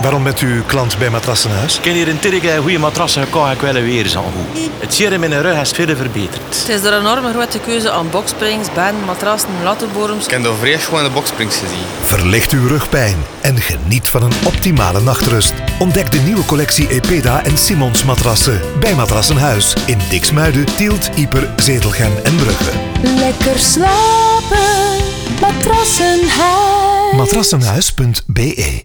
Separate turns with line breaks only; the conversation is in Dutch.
Waarom bent u klant bij Matrassenhuis?
Ik heb hier in Tirke goede matrassen gekocht en ik wil er weer eens aan goed. Het zeer in mijn rug is verder verbeterd.
Het is er een enorme grote keuze aan boksprings, bedden, matrassen, lattenborems.
Ik heb de vrees gewoon in de boxsprings gezien.
Verlicht uw rugpijn en geniet van een optimale nachtrust. Ontdek de nieuwe collectie Epeda en Simons matrassen bij Matrassenhuis in Diksmuiden, Tielt, Ieper, Zetelgem en Brugge.
Lekker slapen. Matrassenhuis.
Matrassenhuis.be